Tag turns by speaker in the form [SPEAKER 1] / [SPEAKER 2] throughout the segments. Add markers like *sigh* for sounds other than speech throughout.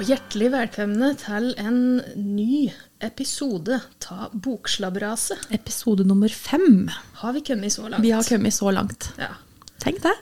[SPEAKER 1] Og hjertelig velkomne til en ny episode av Bokslabberaset.
[SPEAKER 2] Episode nummer fem.
[SPEAKER 1] Har vi kommet så langt?
[SPEAKER 2] Vi har kommet så langt.
[SPEAKER 1] Ja.
[SPEAKER 2] Tenk det.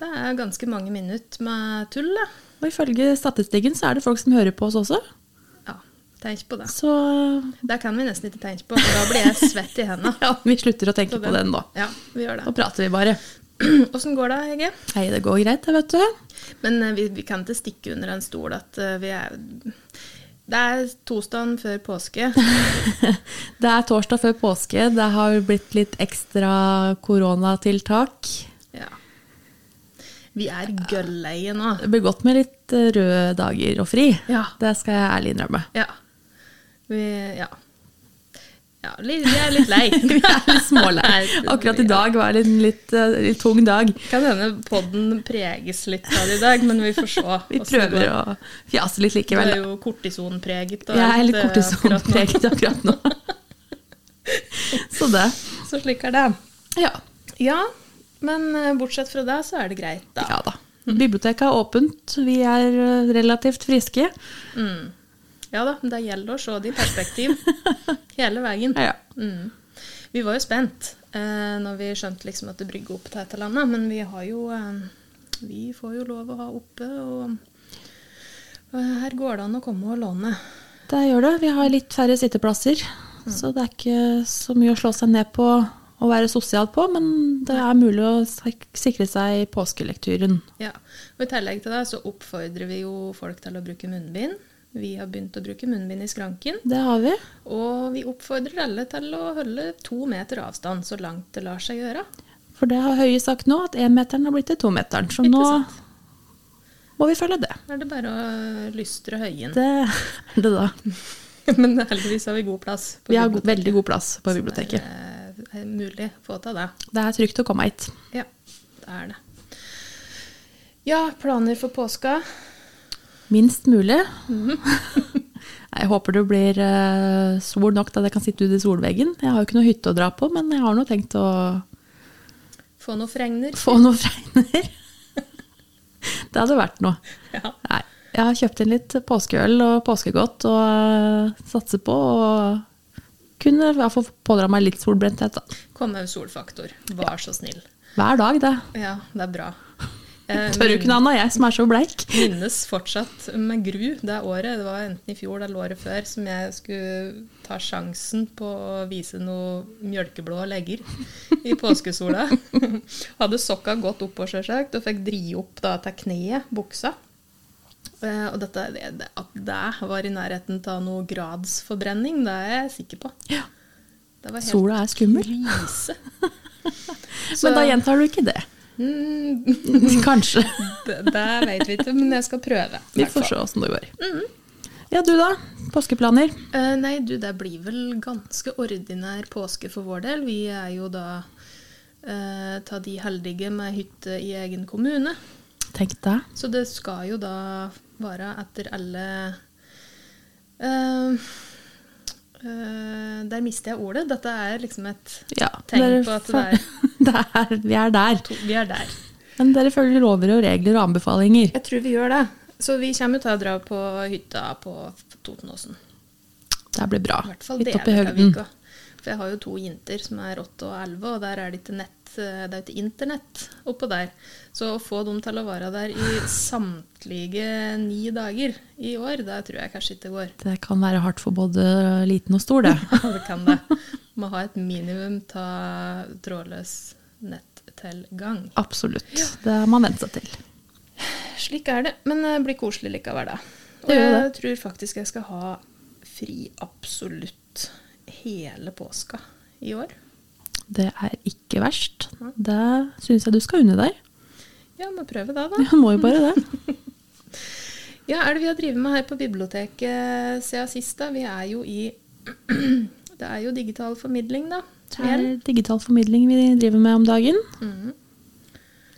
[SPEAKER 1] Det er ganske mange minutter med tull, da.
[SPEAKER 2] Og ifølge statistikken så er det folk som hører på oss også.
[SPEAKER 1] Ja, tenk på det.
[SPEAKER 2] Så
[SPEAKER 1] Det kan vi nesten ikke tenke på, for da blir jeg svett i hendene.
[SPEAKER 2] *laughs* ja, vi slutter å tenke
[SPEAKER 1] Så
[SPEAKER 2] på den da.
[SPEAKER 1] Ja, vi gjør
[SPEAKER 2] Da
[SPEAKER 1] det.
[SPEAKER 2] prater vi bare.
[SPEAKER 1] *clears throat* Åssen går det, Hege?
[SPEAKER 2] Hei, det går greit, det, vet du.
[SPEAKER 1] Men eh, vi, vi kan ikke stikke under en stol at eh, vi er Det er torsdagen før påske.
[SPEAKER 2] *laughs* Det er torsdag før påske. Det har blitt litt ekstra koronatiltak.
[SPEAKER 1] Ja. Vi er gølleie nå.
[SPEAKER 2] Det blir godt med litt eh, røde dager og fri.
[SPEAKER 1] Ja.
[SPEAKER 2] Det skal jeg
[SPEAKER 1] *laughs*
[SPEAKER 2] ærlig innrømme. *laughs*
[SPEAKER 1] Ja. Vi Ja. ja li- vi er litt lei. *laughs*
[SPEAKER 2] Vi er litt smålei. Akkurat i dag var det en litt, eh, litt tung dag.
[SPEAKER 1] Kan hende podden preges litt av det i dag, men vi får se.
[SPEAKER 2] *laughs* Vi
[SPEAKER 1] hvordan det
[SPEAKER 2] prøver
[SPEAKER 1] går.
[SPEAKER 2] å fjase litt
[SPEAKER 1] Du
[SPEAKER 2] likevel.
[SPEAKER 1] er
[SPEAKER 2] da.
[SPEAKER 1] jo kortisonpreget. og
[SPEAKER 2] Jeg er
[SPEAKER 1] alt,
[SPEAKER 2] litt
[SPEAKER 1] eh, akkurat nå.
[SPEAKER 2] kortisonpreget
[SPEAKER 1] *laughs*
[SPEAKER 2] akkurat nå. Så det.
[SPEAKER 1] Så slik er det.
[SPEAKER 2] Ja.
[SPEAKER 1] Ja, men eh, bortsett fra det, så er det greit, da.
[SPEAKER 2] ja da. Biblioteket er åpent. Vi er eh, relativt
[SPEAKER 1] *laughs*
[SPEAKER 2] friske.
[SPEAKER 1] Mm. Ja da, det gjelder å se det i perspektiv hele veien.
[SPEAKER 2] Ja, ja.
[SPEAKER 1] Mm. Vi var jo spent eh, når vi skjønte liksom at det brygger opp til et eller annet, men vi har jo eh, Vi får jo lov å ha oppe, og eh, her går det an å komme og låne.
[SPEAKER 2] Det gjør det. Vi har litt færre sitteplasser,
[SPEAKER 1] Mm.
[SPEAKER 2] så det er ikke så mye å slå seg ned på å være sosial på, men det er mulig å sik- sikre seg påskelekturen.
[SPEAKER 1] Ja. Og I tillegg til det så oppfordrer vi jo folk til å bruke munnbind. Vi har begynt å bruke munnbind i skranken.
[SPEAKER 2] Det har vi.
[SPEAKER 1] Og vi oppfordrer alle til å holde to meter avstand så langt det lar seg gjøre.
[SPEAKER 2] For det har Høie sagt nå, at énmeteren har blitt til tometeren, så
[SPEAKER 1] Ikke
[SPEAKER 2] nå
[SPEAKER 1] sant.
[SPEAKER 2] må vi følge det.
[SPEAKER 1] Da er det bare å lystre høyen. *laughs*
[SPEAKER 2] Det er det da.
[SPEAKER 1] Men heldigvis har vi god plass. på
[SPEAKER 2] Vi har
[SPEAKER 1] biblioteket.
[SPEAKER 2] go- veldig god plass på biblioteket.
[SPEAKER 1] Det er eh, mulig å få til det.
[SPEAKER 2] Det er trygt å komme hit.
[SPEAKER 1] Ja, det er det. Ja, planer for påska.
[SPEAKER 2] Minst *laughs* mulig. jeg håper det blir eh, sol nok til at jeg kan sitte ute i solveggen. Jeg har jo ikke noe hytte å dra på, men jeg har nå tenkt å
[SPEAKER 1] Få noen fregner.
[SPEAKER 2] få noen fregner. *laughs* det hadde vært noe.
[SPEAKER 1] Ja.
[SPEAKER 2] Nei, jeg har kjøpt inn litt påskeøl og påskegodt og eh, satser på å kunne i hvert fall pådra meg litt solbrenthet. Da.
[SPEAKER 1] Kom med en solfaktor. Vær så snill.
[SPEAKER 2] Hver dag, det.
[SPEAKER 1] Ja, det er
[SPEAKER 2] *laughs*
[SPEAKER 1] bra. Eh,
[SPEAKER 2] Tør jo ikke noe annet, jeg som er så bleik.
[SPEAKER 1] minnes fortsatt med gru det året. Det var enten i fjor eller året før som jeg skulle ta sjansen på å vise noe mjølkeblå legger i
[SPEAKER 2] *laughs*
[SPEAKER 1] påskesola. Hadde sokka godt oppå, sjølsagt, og fikk dri opp da til kneet, buksa. Eh, Og dette, det, det- at det var i nærheten av noe gradsforbrenning, det er jeg sikker på.
[SPEAKER 2] Ja.
[SPEAKER 1] Det var helt
[SPEAKER 2] Sola er skummel.
[SPEAKER 1] krise. Så-
[SPEAKER 2] *laughs* Men da gjentar du ikke det.
[SPEAKER 1] Mm, *laughs*
[SPEAKER 2] *laughs* Kanskje.
[SPEAKER 1] det, det vet vi ikke, men jeg skal prøve.
[SPEAKER 2] Vi får se åssen det går.
[SPEAKER 1] Mm.
[SPEAKER 2] Ja, du da? Påskeplaner?
[SPEAKER 1] Eh, nei, du, det blir vel ganske ordinær påske for vår del. Vi er jo da eh, ta de heldige med hytte i egen kommune.
[SPEAKER 2] Tenk deg.
[SPEAKER 1] Så det skal jo da være etter alle eh, eh, Der mister jeg ordet. Dette er liksom et
[SPEAKER 2] Ja,
[SPEAKER 1] Tenk
[SPEAKER 2] dere
[SPEAKER 1] på at det
[SPEAKER 2] føl-
[SPEAKER 1] er-
[SPEAKER 2] *laughs* det er Vi er der.
[SPEAKER 1] to, Vi er der.
[SPEAKER 2] Men dere følger lover og regler og anbefalinger.
[SPEAKER 1] Jeg tror vi gjør det. Så vi kommer til å dra på hytta på Totenåsen.
[SPEAKER 2] Det blir bra.
[SPEAKER 1] I hvert fall
[SPEAKER 2] Litt
[SPEAKER 1] deler
[SPEAKER 2] opp i
[SPEAKER 1] av
[SPEAKER 2] høgden.
[SPEAKER 1] uka. For jeg har jo to jenter som er åtte og elleve, og der er det ikke nett, eh, det er jo ikke internett oppå der. Så å få dem til å være der i samtlige ni dager i år, det tror jeg kanskje ikke går. *laughs*
[SPEAKER 2] Det kan være hardt for både liten og stor, det.
[SPEAKER 1] Alle kan det. Må ha et minimum av trådløs nettilgang.
[SPEAKER 2] Absolutt. Det har man vent seg til.
[SPEAKER 1] Slik er det. Men det blir koselig likevel, da. Og
[SPEAKER 2] Det gjør
[SPEAKER 1] jeg tror faktisk jeg skal ha fri absolutt hele påska i år.
[SPEAKER 2] Det er ikke verst. Det syns jeg du skal unne deg.
[SPEAKER 1] Ja, må prøve det, da.
[SPEAKER 2] Du må jo
[SPEAKER 1] *laughs*
[SPEAKER 2] bare det.
[SPEAKER 1] Ja, er det vi har drevet med her på biblioteket siden sist, da? Vi er jo i *clears throat* Det er jo digital formidling, da.
[SPEAKER 2] Det er digital formidling vi driver med om dagen.
[SPEAKER 1] Mhm.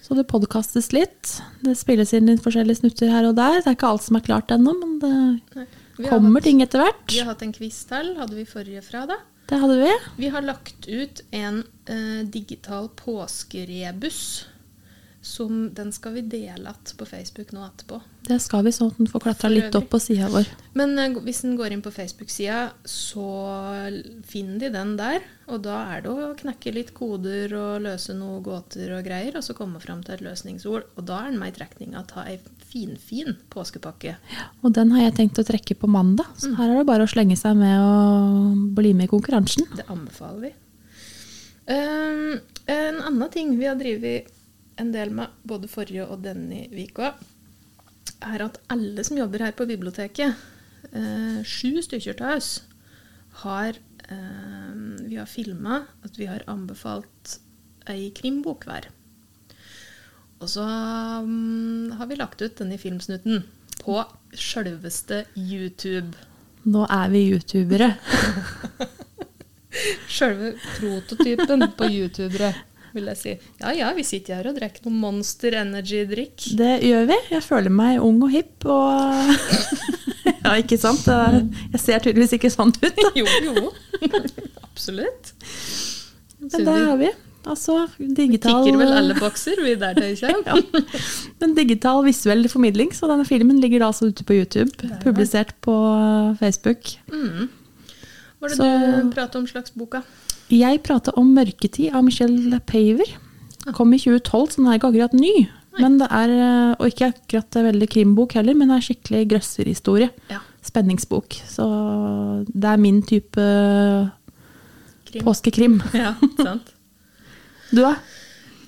[SPEAKER 2] Så det podkastes litt. Det spilles inn litt forskjellige snutter her og der. Det er ikke alt som er klart ennå, men det
[SPEAKER 1] Nei, vi har
[SPEAKER 2] kommer
[SPEAKER 1] hatt-
[SPEAKER 2] ting etter hvert.
[SPEAKER 1] Vi har hatt en quiz til, hadde vi forrige fra, da.
[SPEAKER 2] Det hadde vi.
[SPEAKER 1] Vi har lagt ut en eh, digital påskerebus som den skal vi dele att på Facebook nå etterpå.
[SPEAKER 2] Det skal vi, sånn at den får klatra litt opp på sida vår.
[SPEAKER 1] Men eh, hvis en går inn på Facebook-sida, så finner de den der. Og da er det å knekke litt koder og løse noen gåter og greier, og så komme fram til et løsningsord. Og da er den med i trekninga til å ta ei finfin påskepakke.
[SPEAKER 2] Og den har jeg tenkt å trekke på mandag,
[SPEAKER 1] Mm.
[SPEAKER 2] så her er det bare å slenge seg med og bli med i konkurransen.
[SPEAKER 1] Det anbefaler vi. Ehm, en annen ting vi har drevet en del med både forrige og denne uka, er at alle som jobber her på biblioteket, eh, sju stykker til oss, har ehm, Vi har filma at vi har anbefalt ei krimbok hver. Og så mm, har vi lagt ut denne filmsnutten på sjølveste YouTube.
[SPEAKER 2] Nå er vi youtubere.
[SPEAKER 1] Sjølve prototypen på youtubere, vil jeg si. Ja ja, vi sitter her og drikker noe Monster Energy-drikk.
[SPEAKER 2] Det gjør vi. Jeg føler meg ung og hipp og *laughs* Ja, ikke sant? Det er- Jeg ser tydeligvis ikke sånn ut. da.
[SPEAKER 1] Jo, jo. Absolutt.
[SPEAKER 2] Men det har vi. Altså digital eh.
[SPEAKER 1] Tikker vel alle bokser, vi der,
[SPEAKER 2] *laughs*
[SPEAKER 1] tenker jeg.
[SPEAKER 2] Men digital visuell formidling, så denne filmen ligger da altså ute på YouTube. Publisert på Facebook.
[SPEAKER 1] Var Mm. det
[SPEAKER 2] Så-
[SPEAKER 1] du prata om slagsboka?
[SPEAKER 2] Jeg prater om 'Mørketid' av Michelle Paver. Kom i 2012, så den er ikke akkurat ny. Men det er, eh, og ikke akkurat en veldig krimbok heller, men det er skikkelig grøsserhistorie.
[SPEAKER 1] Ja.
[SPEAKER 2] Spenningsbok. Så det er min type eh,
[SPEAKER 1] Krim.
[SPEAKER 2] påskekrim.
[SPEAKER 1] Ja, sant.
[SPEAKER 2] Du, da?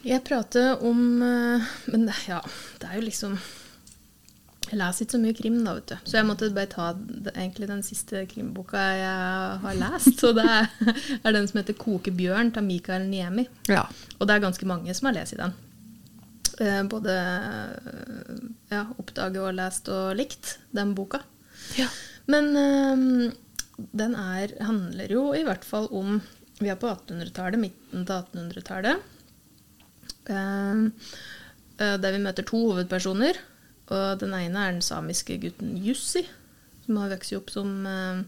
[SPEAKER 1] Jeg prater om eh, Men det- ja, det er jo liksom Jeg leser ikke så mye krim, da, vet du. Så jeg måtte bare ta det, egentlig den siste krimboka jeg har lest. Og det er, er den som heter 'Kokebjørn' av Mikael Niemi.
[SPEAKER 2] Ja.
[SPEAKER 1] Og det er ganske mange som har lest i den. Eh, både eh, ja, oppdaget og lest og likt den boka. Men eh, den er, handler jo i hvert fall om Vi er på 1800-tallet, midten til 1800-tallet. Eh, eh, der vi møter to hovedpersoner. Og den ene er den samiske gutten Jussi, som har vokst opp som eh,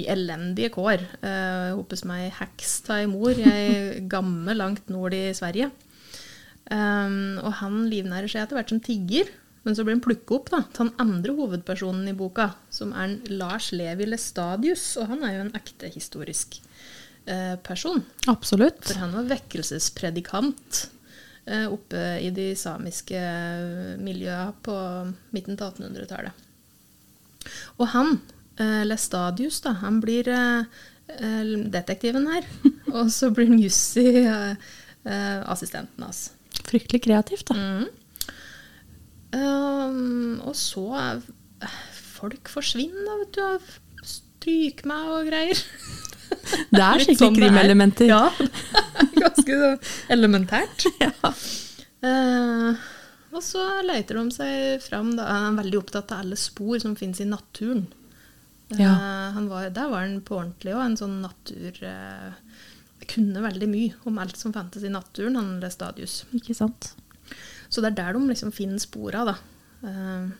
[SPEAKER 1] i elendige kår. Eh, Hoppes med ei heks av ei mor i *laughs* ei gamme langt nord i Sverige. Um, og han livnærer seg etter hvert som tigger, men så blir han plukket opp da, til den andre hovedpersonen i boka, som er en Lars Levi Lestadius, og han er jo en ekte historisk eh, person.
[SPEAKER 2] Absolutt.
[SPEAKER 1] For han var vekkelsespredikant eh, oppe i de samiske eh, miljøa på midten av 1800-tallet. Og han, eh, Lestadius, da, han blir eh, eh, detektiven
[SPEAKER 2] *laughs*
[SPEAKER 1] her. Og så blir han Jussi, eh, eh, assistenten hans.
[SPEAKER 2] Fryktelig kreativt, da.
[SPEAKER 1] Mm. Ehm, Eh, og så er- eh, Folk forsvinner, vet du. av Stryk meg og greier.
[SPEAKER 2] Det er
[SPEAKER 1] *laughs* Litt
[SPEAKER 2] skikkelig
[SPEAKER 1] sånn det er.
[SPEAKER 2] krimelementer.
[SPEAKER 1] Ja, *laughs* ganske så elementært. Eh, og så leter de seg fram. Da. Han er veldig opptatt av alle spor som finnes i naturen. Eh,
[SPEAKER 2] Ja.
[SPEAKER 1] han var, der var han på ordentlig òg, en sånn natur... eh, kunne veldig mye om alt som fantes i naturen, han Lestadius.
[SPEAKER 2] *laughs* Ikke sant.
[SPEAKER 1] Så det er der de liksom finner spor av, da. Eh,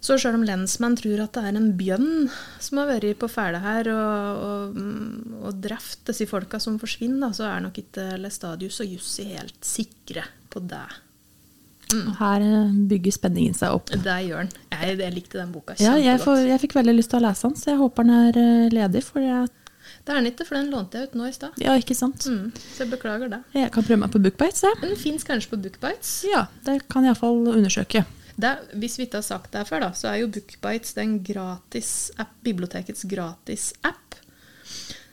[SPEAKER 1] Så sjøl om lensmannen tror at det er en bjønn som har vært på ferde her og, og, mm, og drept disse folka som forsvinner, da, så er nok ikke Lestadius og Jussi helt sikre på det.
[SPEAKER 2] Og
[SPEAKER 1] Mm.
[SPEAKER 2] Her eh, bygger spenningen seg opp.
[SPEAKER 1] Det gjør han. Jeg, jeg likte den boka
[SPEAKER 2] Ja, jeg, får,
[SPEAKER 1] kjempegodt.
[SPEAKER 2] jeg fikk veldig lyst til å lese den, så jeg håper den er eh, ledig. For jeg,
[SPEAKER 1] Det er den ikke, for den lånte jeg ut nå i stad.
[SPEAKER 2] ja, ikke sant.
[SPEAKER 1] Mm, så jeg beklager det.
[SPEAKER 2] Jeg kan prøve meg på Bookbites, jeg.
[SPEAKER 1] Men den fins kanskje på Bookbites.
[SPEAKER 2] Ja, det kan jeg iallfall undersøke.
[SPEAKER 1] Det, hvis vi ikke har sagt det her før, da, så er jo Bookbites den gratis app, bibliotekets gratis-app.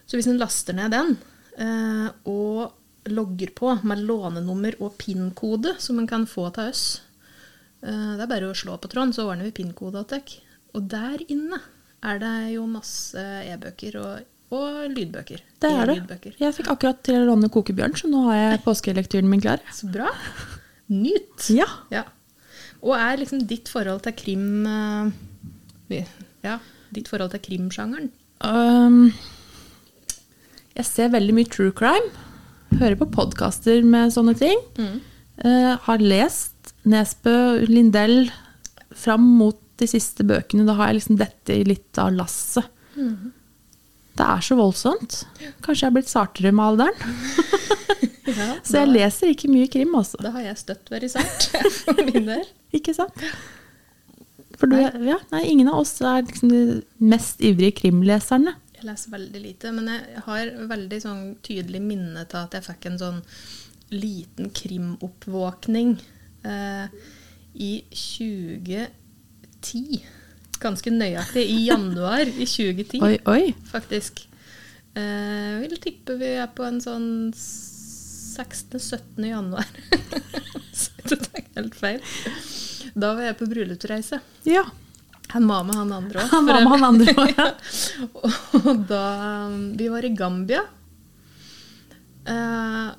[SPEAKER 1] Så hvis en laster ned den eh, og logger på med lånenummer og PIN-kode, som en kan få av oss eh, Det er bare å slå på tråden, så ordner vi PIN-koda til dere. Og der inne er det jo masse e-bøker og, og lydbøker.
[SPEAKER 2] Det er det.
[SPEAKER 1] E-lydbøker.
[SPEAKER 2] Jeg fikk akkurat til å låne Kokebjørn, så nå har jeg påskelektyren min klar.
[SPEAKER 1] Så bra. Nyt.
[SPEAKER 2] Ja.
[SPEAKER 1] Ja. Og er liksom ditt forhold til krim eh, vi- Ja, ditt forhold til krimsjangeren?
[SPEAKER 2] Øhm, Um, jeg ser veldig mye true crime. Hører på podkaster med sånne ting. Eh, har lest Nesbø, Lindell fram mot de siste bøkene. Da har jeg liksom dette i litt av lasset. Mm. Det er så voldsomt. Kanskje jeg er blitt sartere med alderen.
[SPEAKER 1] Ja,
[SPEAKER 2] Så jeg
[SPEAKER 1] da-
[SPEAKER 2] leser ikke mye krim, altså.
[SPEAKER 1] Da har jeg støtt vært sært, *laughs* for min del.
[SPEAKER 2] Ikke sant? For du, ja, nei, ingen av oss er liksom de mest ivrige krimleserne.
[SPEAKER 1] Jeg leser veldig lite, men jeg har veldig sånn tydelig minne til at jeg fikk en sånn liten krimoppvåkning eh, i 2010. Ganske nøyaktig i januar i 2010,
[SPEAKER 2] Oi, oi.
[SPEAKER 1] faktisk. Eh, jeg vil tippe vi er på en sånn 16.-17. januar. *laughs* Så det er helt feil. Da var jeg på bryllupsreise.
[SPEAKER 2] Ja.
[SPEAKER 1] Han var med han andre
[SPEAKER 2] *laughs*
[SPEAKER 1] òg.
[SPEAKER 2] Han var med han andre *laughs* også, ja.
[SPEAKER 1] *laughs* og da um, Vi var i Gambia. Eh,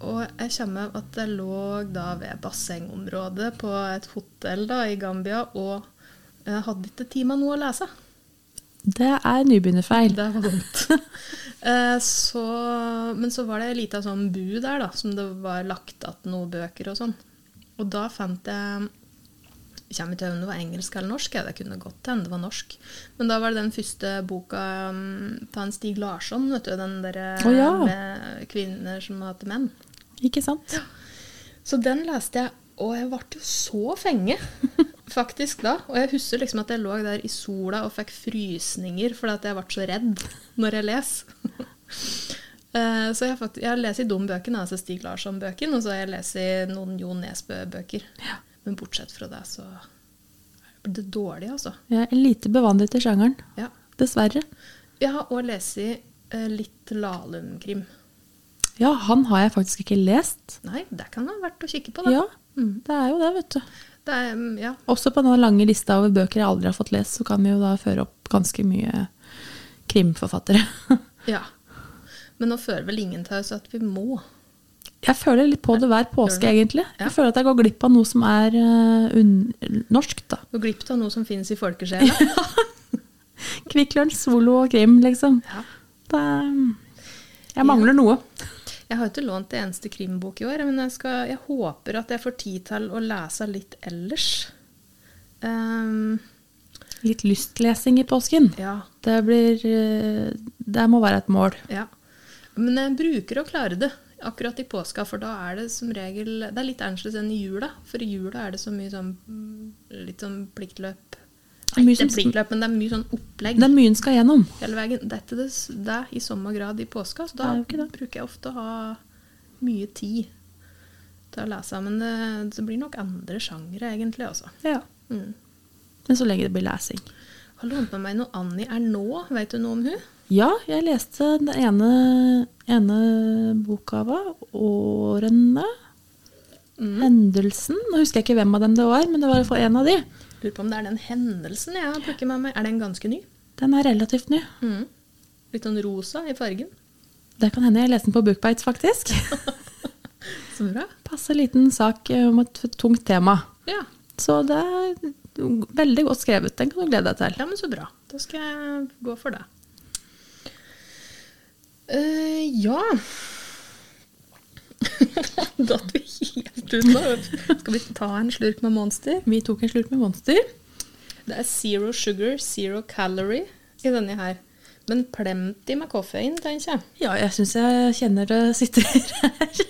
[SPEAKER 1] og jeg kommer med at det lå da ved bassengområdet på et hotell da i Gambia, og jeg hadde ikke tid med noe å lese.
[SPEAKER 2] Det er nybegynnerfeil.
[SPEAKER 1] Det var vondt.
[SPEAKER 2] *laughs*
[SPEAKER 1] Eh, så, men så var det ei lita sånn bu der, da, som det var lagt igjen noen bøker og sånn. Og da fant jeg Jeg kommer ikke til om det var engelsk eller norsk, jeg. det kunne godt hende det var norsk. Men da var det den første boka um, til han Stig Larsson, vet du, den derre
[SPEAKER 2] Å ja.
[SPEAKER 1] med kvinner som hater menn.
[SPEAKER 2] Ikke sant?
[SPEAKER 1] Så den leste jeg, og jeg ble jo så fenge *laughs* faktisk da. Og jeg husker liksom at jeg lå der i sola og fikk frysninger fordi at jeg ble så redd når jeg leser. *laughs* Eh, så jeg, har fakt- jeg har lest i Dum-bøkene, altså Stig Larsson-bøken, og så har jeg lest i noen Jo Nesbø-bøker. Men bortsett fra det, så blir det dårlig, altså.
[SPEAKER 2] Jeg er lite bevandret i sjangeren.
[SPEAKER 1] Ja.
[SPEAKER 2] Dessverre.
[SPEAKER 1] Jeg har også lest i eh, litt Lahlum-krim.
[SPEAKER 2] Ja, han har jeg faktisk ikke lest.
[SPEAKER 1] Nei, det kan være verdt å Mm. kikke på, da.
[SPEAKER 2] Ja, det er jo det, vet du.
[SPEAKER 1] Det er, mm, ja.
[SPEAKER 2] Også på den lange lista over bøker jeg aldri har fått lest, så kan vi jo da føre opp ganske mye krimforfattere. *laughs*
[SPEAKER 1] Ja. Men nå fører vel ingen til oss at vi må.
[SPEAKER 2] Jeg føler litt på det hver påske, egentlig.
[SPEAKER 1] Ja.
[SPEAKER 2] Jeg føler at jeg går glipp av noe som er eh, un norsk, da.
[SPEAKER 1] Gå glipp av noe som finnes i
[SPEAKER 2] *laughs*
[SPEAKER 1] folkesjela.
[SPEAKER 2] Kvikk Lunsj, Solo og krim, liksom.
[SPEAKER 1] Ja.
[SPEAKER 2] Det, jeg mangler noe.
[SPEAKER 1] Jeg har ikke lånt det eneste krimbok i år, men jeg, skal, jeg håper at jeg får tid til å lese litt ellers. Ehm,
[SPEAKER 2] Litt lystlesing i påsken.
[SPEAKER 1] ja,
[SPEAKER 2] Det blir eh, Det må være et mål.
[SPEAKER 1] ja. Men jeg bruker å klare det akkurat i påska, for da er det som regel Det er litt annerledes enn i jula, for i jula er det så mye sånn mm, litt sånn pliktløp.
[SPEAKER 2] er mye
[SPEAKER 1] Nei, det er
[SPEAKER 2] som-
[SPEAKER 1] pliktløp, men det er mye sånn opplegg
[SPEAKER 2] Det er mye en skal gjennom.
[SPEAKER 1] hele veien. Det er ikke det, s- det er i samme grad i påska, så da
[SPEAKER 2] Det er jo ikke det.
[SPEAKER 1] bruker jeg ofte å ha mye tid til å lese. Men det, det blir nok andre sjangere, egentlig, altså. Mm.
[SPEAKER 2] Men så lenge det blir lesing.
[SPEAKER 1] Har lånt med meg noe Annie er nå. Vet du noe om hun?
[SPEAKER 2] Ja, jeg leste den ene, ene boka av Årene. Mhm. Hendelsen. Nå husker jeg ikke hvem av dem det var, men det var i hvert fall en av de.
[SPEAKER 1] Lurer på om det er den hendelsen jeg har plukket med meg. Er den ganske ny?
[SPEAKER 2] Den er relativt ny.
[SPEAKER 1] Mm. Litt sånn rosa i fargen. *laughs*
[SPEAKER 2] Det kan hende jeg leste den på Bookbites, *laughs* faktisk.
[SPEAKER 1] Så bra.
[SPEAKER 2] Passe liten sak eh, om et tungt tema.
[SPEAKER 1] Ja.
[SPEAKER 2] Så det er veldig godt skrevet. Den kan du glede deg til.
[SPEAKER 1] ja, men så bra. Da skal jeg gå for det. eh ja *laughs* Datt vi helt ut nå. Skal vi ta en slurk med Monster?
[SPEAKER 2] Vi tok en slurk med Monster.
[SPEAKER 1] Det er zero sugar, zero calorie i denne her. Men plenty med koffein, tenker jeg.
[SPEAKER 2] Ja, jeg syns jeg kjenner det sitter her.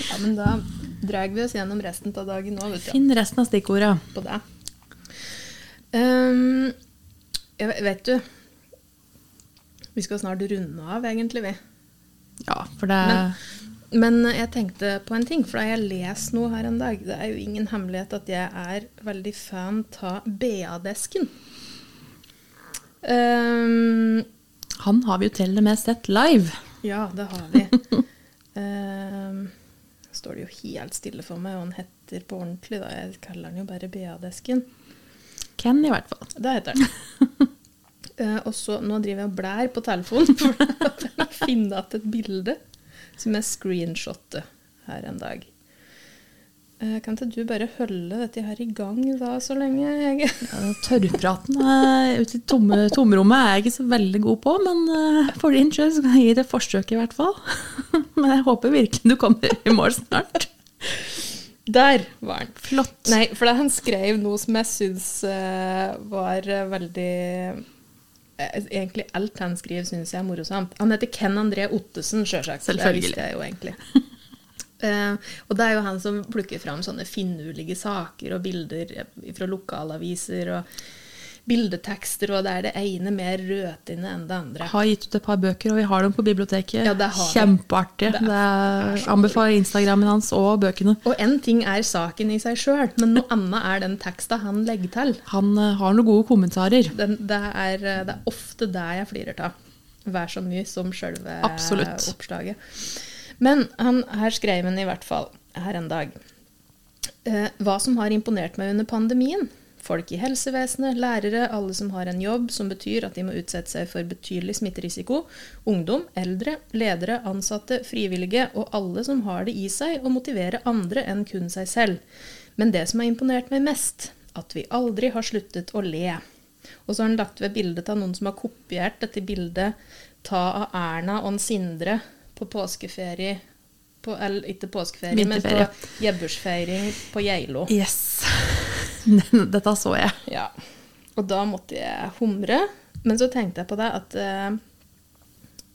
[SPEAKER 1] Ja, men da drar vi oss gjennom resten av dagen nå, vet du.
[SPEAKER 2] Finn resten av stikkorda.
[SPEAKER 1] På det. Ehm, jeg ve- vet du Vi skal snart runde av, egentlig, vi.
[SPEAKER 2] Ja, for det
[SPEAKER 1] Men- Men jeg tenkte på en ting, for da jeg leser noe her en dag Det er jo ingen hemmelighet at jeg er veldig fan av BA-desken. Ehm,
[SPEAKER 2] Han har vi jo til og med sett live.
[SPEAKER 1] Ja, det har vi. Ehm, står det jo helt stille for meg hva han heter på ordentlig. da. Jeg kaller han jo bare BA-desken.
[SPEAKER 2] Ken, i hvert fall.
[SPEAKER 1] Det heter den. *laughs* Eh, og så, Nå driver jeg og blær på telefonen *laughs* for at jeg må finne igjen et bilde som jeg screenshotte her en dag. Eh, kan ikke du bare holde dette her i gang da, så lenge? Jeg...
[SPEAKER 2] Ja, Tørrpraten eh, ute i tomme, tomrommet er jeg ikke så veldig god på, men eh, for din skyld så kan jeg gi det et forsøk i hvert fall. *laughs* Men jeg håper virkelig du kommer i mål snart.
[SPEAKER 1] *laughs* Der var den.
[SPEAKER 2] Flott.
[SPEAKER 1] Nei, for da han skrev noe som jeg syns eh, var eh, veldig eh, egentlig alt han skriver, syns jeg er morsomt. Han heter Ken André Ottesen, sjølsagt.
[SPEAKER 2] Selvfølgelig.
[SPEAKER 1] Det visste jeg jo egentlig. *laughs* Eh, og det er jo han som plukker fram sånne finurlige saker og bilder eh, fra lokalaviser og bildetekster, og det er det ene mer rødtinne enn det andre.
[SPEAKER 2] Har gitt ut et par bøker, og vi har dem på biblioteket.
[SPEAKER 1] Ja, det har vi.
[SPEAKER 2] Kjempeartig. Det er, anbefaler Instagrammen hans og bøkene.
[SPEAKER 1] Og én ting er saken i seg sjøl, men noe annet er den teksta han legger til.
[SPEAKER 2] Han eh, har noen gode kommentarer.
[SPEAKER 1] Den, det, er, eh, det er ofte det jeg flirer av. Vær så mye som sjølve
[SPEAKER 2] Absolutt.
[SPEAKER 1] oppslaget. Men han, her skrev han i hvert fall her en dag. Eh, hva som har imponert meg under pandemien? Folk i helsevesenet, lærere, alle som har en jobb som betyr at de må utsette seg for betydelig smitterisiko. Ungdom, eldre, ledere, ansatte, frivillige og alle som har det i seg å motivere andre enn kun seg selv. Men det som har imponert meg mest, at vi aldri har sluttet å le. Og så har han lagt ved bildet av noen som har kopiert dette bildet ta av Erna og en Sindre på påskeferie på, Eller ikke påskeferie, men på
[SPEAKER 2] Vinterferie.
[SPEAKER 1] Jebbursfeiring på Geilo.
[SPEAKER 2] Yes. Den- *laughs* Dette så jeg.
[SPEAKER 1] Ja. Og da måtte jeg humre. Men så tenkte jeg på det at eh,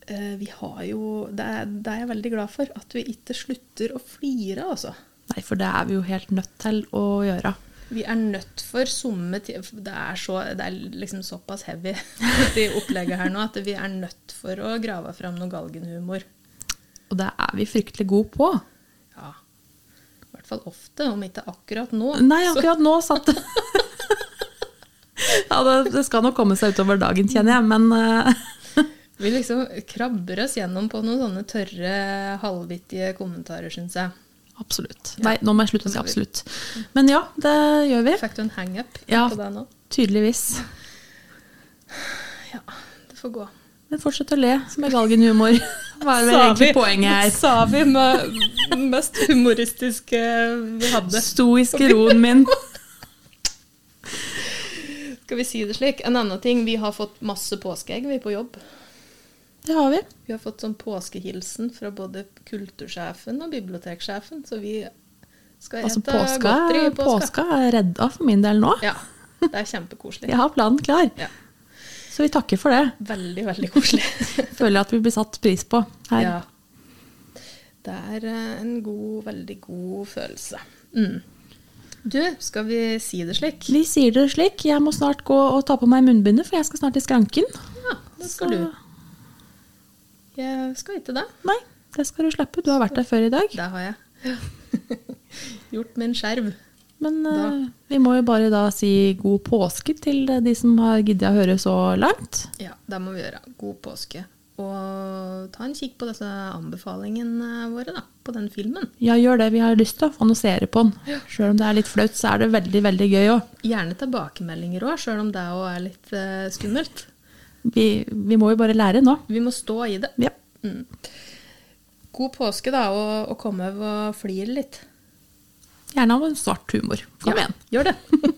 [SPEAKER 1] eh, vi har jo det er, det er jeg veldig glad for. At vi ikke slutter å flire, altså.
[SPEAKER 2] Nei, for det er vi jo helt nødt til å gjøre.
[SPEAKER 1] Vi er nødt for somme ti- for Det er, så, det er liksom såpass heavy *laughs* i opplegget her nå at vi er nødt for å grave fram noe galgenhumor.
[SPEAKER 2] Og det er vi fryktelig gode på.
[SPEAKER 1] Ja. I hvert fall ofte, om ikke akkurat nå.
[SPEAKER 2] Nei, akkurat nå
[SPEAKER 1] *laughs*
[SPEAKER 2] satt det Ja, det, det skal nok komme seg utover dagen, kjenner jeg, men eh, *laughs*
[SPEAKER 1] Så vi liksom krabber oss gjennom på noen sånne tørre, halvvittige kommentarer, syns jeg.
[SPEAKER 2] absolutt. Nei, nå må jeg slutte å si absolutt. Men ja, det gjør vi.
[SPEAKER 1] Fikk du en hangup
[SPEAKER 2] Ja.
[SPEAKER 1] på det nå?
[SPEAKER 2] Tydeligvis.
[SPEAKER 1] Ja, det får gå.
[SPEAKER 2] Men fortsett å le, som er
[SPEAKER 1] *laughs*
[SPEAKER 2] galgenhumor. Hva er vel
[SPEAKER 1] Sa
[SPEAKER 2] egentlig
[SPEAKER 1] vi-
[SPEAKER 2] poenget her?
[SPEAKER 1] Sa vi med mest humoristiske vi hadde.
[SPEAKER 2] Stoiske roen
[SPEAKER 1] *laughs*
[SPEAKER 2] min.
[SPEAKER 1] Skal vi si det slik? En annen ting, vi har fått masse påskeegg, vi er på jobb.
[SPEAKER 2] Det har vi.
[SPEAKER 1] Vi har fått sånn påskehilsen fra både kultursjefen og biblioteksjefen, så vi skal
[SPEAKER 2] Altså,
[SPEAKER 1] ete
[SPEAKER 2] påska,
[SPEAKER 1] eh, godteri i påska.
[SPEAKER 2] påska er redda for min del nå.
[SPEAKER 1] Ja, det er kjempekoselig.
[SPEAKER 2] Jeg har planen klar.
[SPEAKER 1] Ja.
[SPEAKER 2] Så vi takker for det.
[SPEAKER 1] Veldig, veldig koselig. *laughs*
[SPEAKER 2] Føler at vi blir satt pris på her.
[SPEAKER 1] Ja. Det er eh, en god, veldig god følelse. Mm. Du, skal vi si det slik?
[SPEAKER 2] Vi sier det slik. Jeg må snart gå og ta på meg munnbindet, for jeg skal snart i skranken.
[SPEAKER 1] Ja, det skal
[SPEAKER 2] Så-
[SPEAKER 1] du. Jeg skal ikke det.
[SPEAKER 2] Nei, det skal du slippe. Du har vært der før i dag.
[SPEAKER 1] Det har
[SPEAKER 2] *laughs*
[SPEAKER 1] jeg. Gjort min skjerv.
[SPEAKER 2] Men eh, vi må jo bare da si god påske til eh, de som har giddet å høre så langt.
[SPEAKER 1] Ja, det må vi gjøre. God påske. Og ta en kikk på disse anbefalingene våre, da. På den filmen.
[SPEAKER 2] Ja, gjør det vi har lyst til, å annonsere på den. Sjøl om det er litt flaut, så er det veldig, veldig gøy òg.
[SPEAKER 1] Gjerne tilbakemeldinger òg, sjøl om det òg er litt eh, skummelt.
[SPEAKER 2] Vi, vi må jo bare lære nå.
[SPEAKER 1] Vi må stå i det. Mm.
[SPEAKER 2] Ja.
[SPEAKER 1] God påske, da, og, og kom over og flire litt.
[SPEAKER 2] Gjerne av en svart humor. Kom
[SPEAKER 1] Ja,
[SPEAKER 2] igjen.
[SPEAKER 1] Gjør det.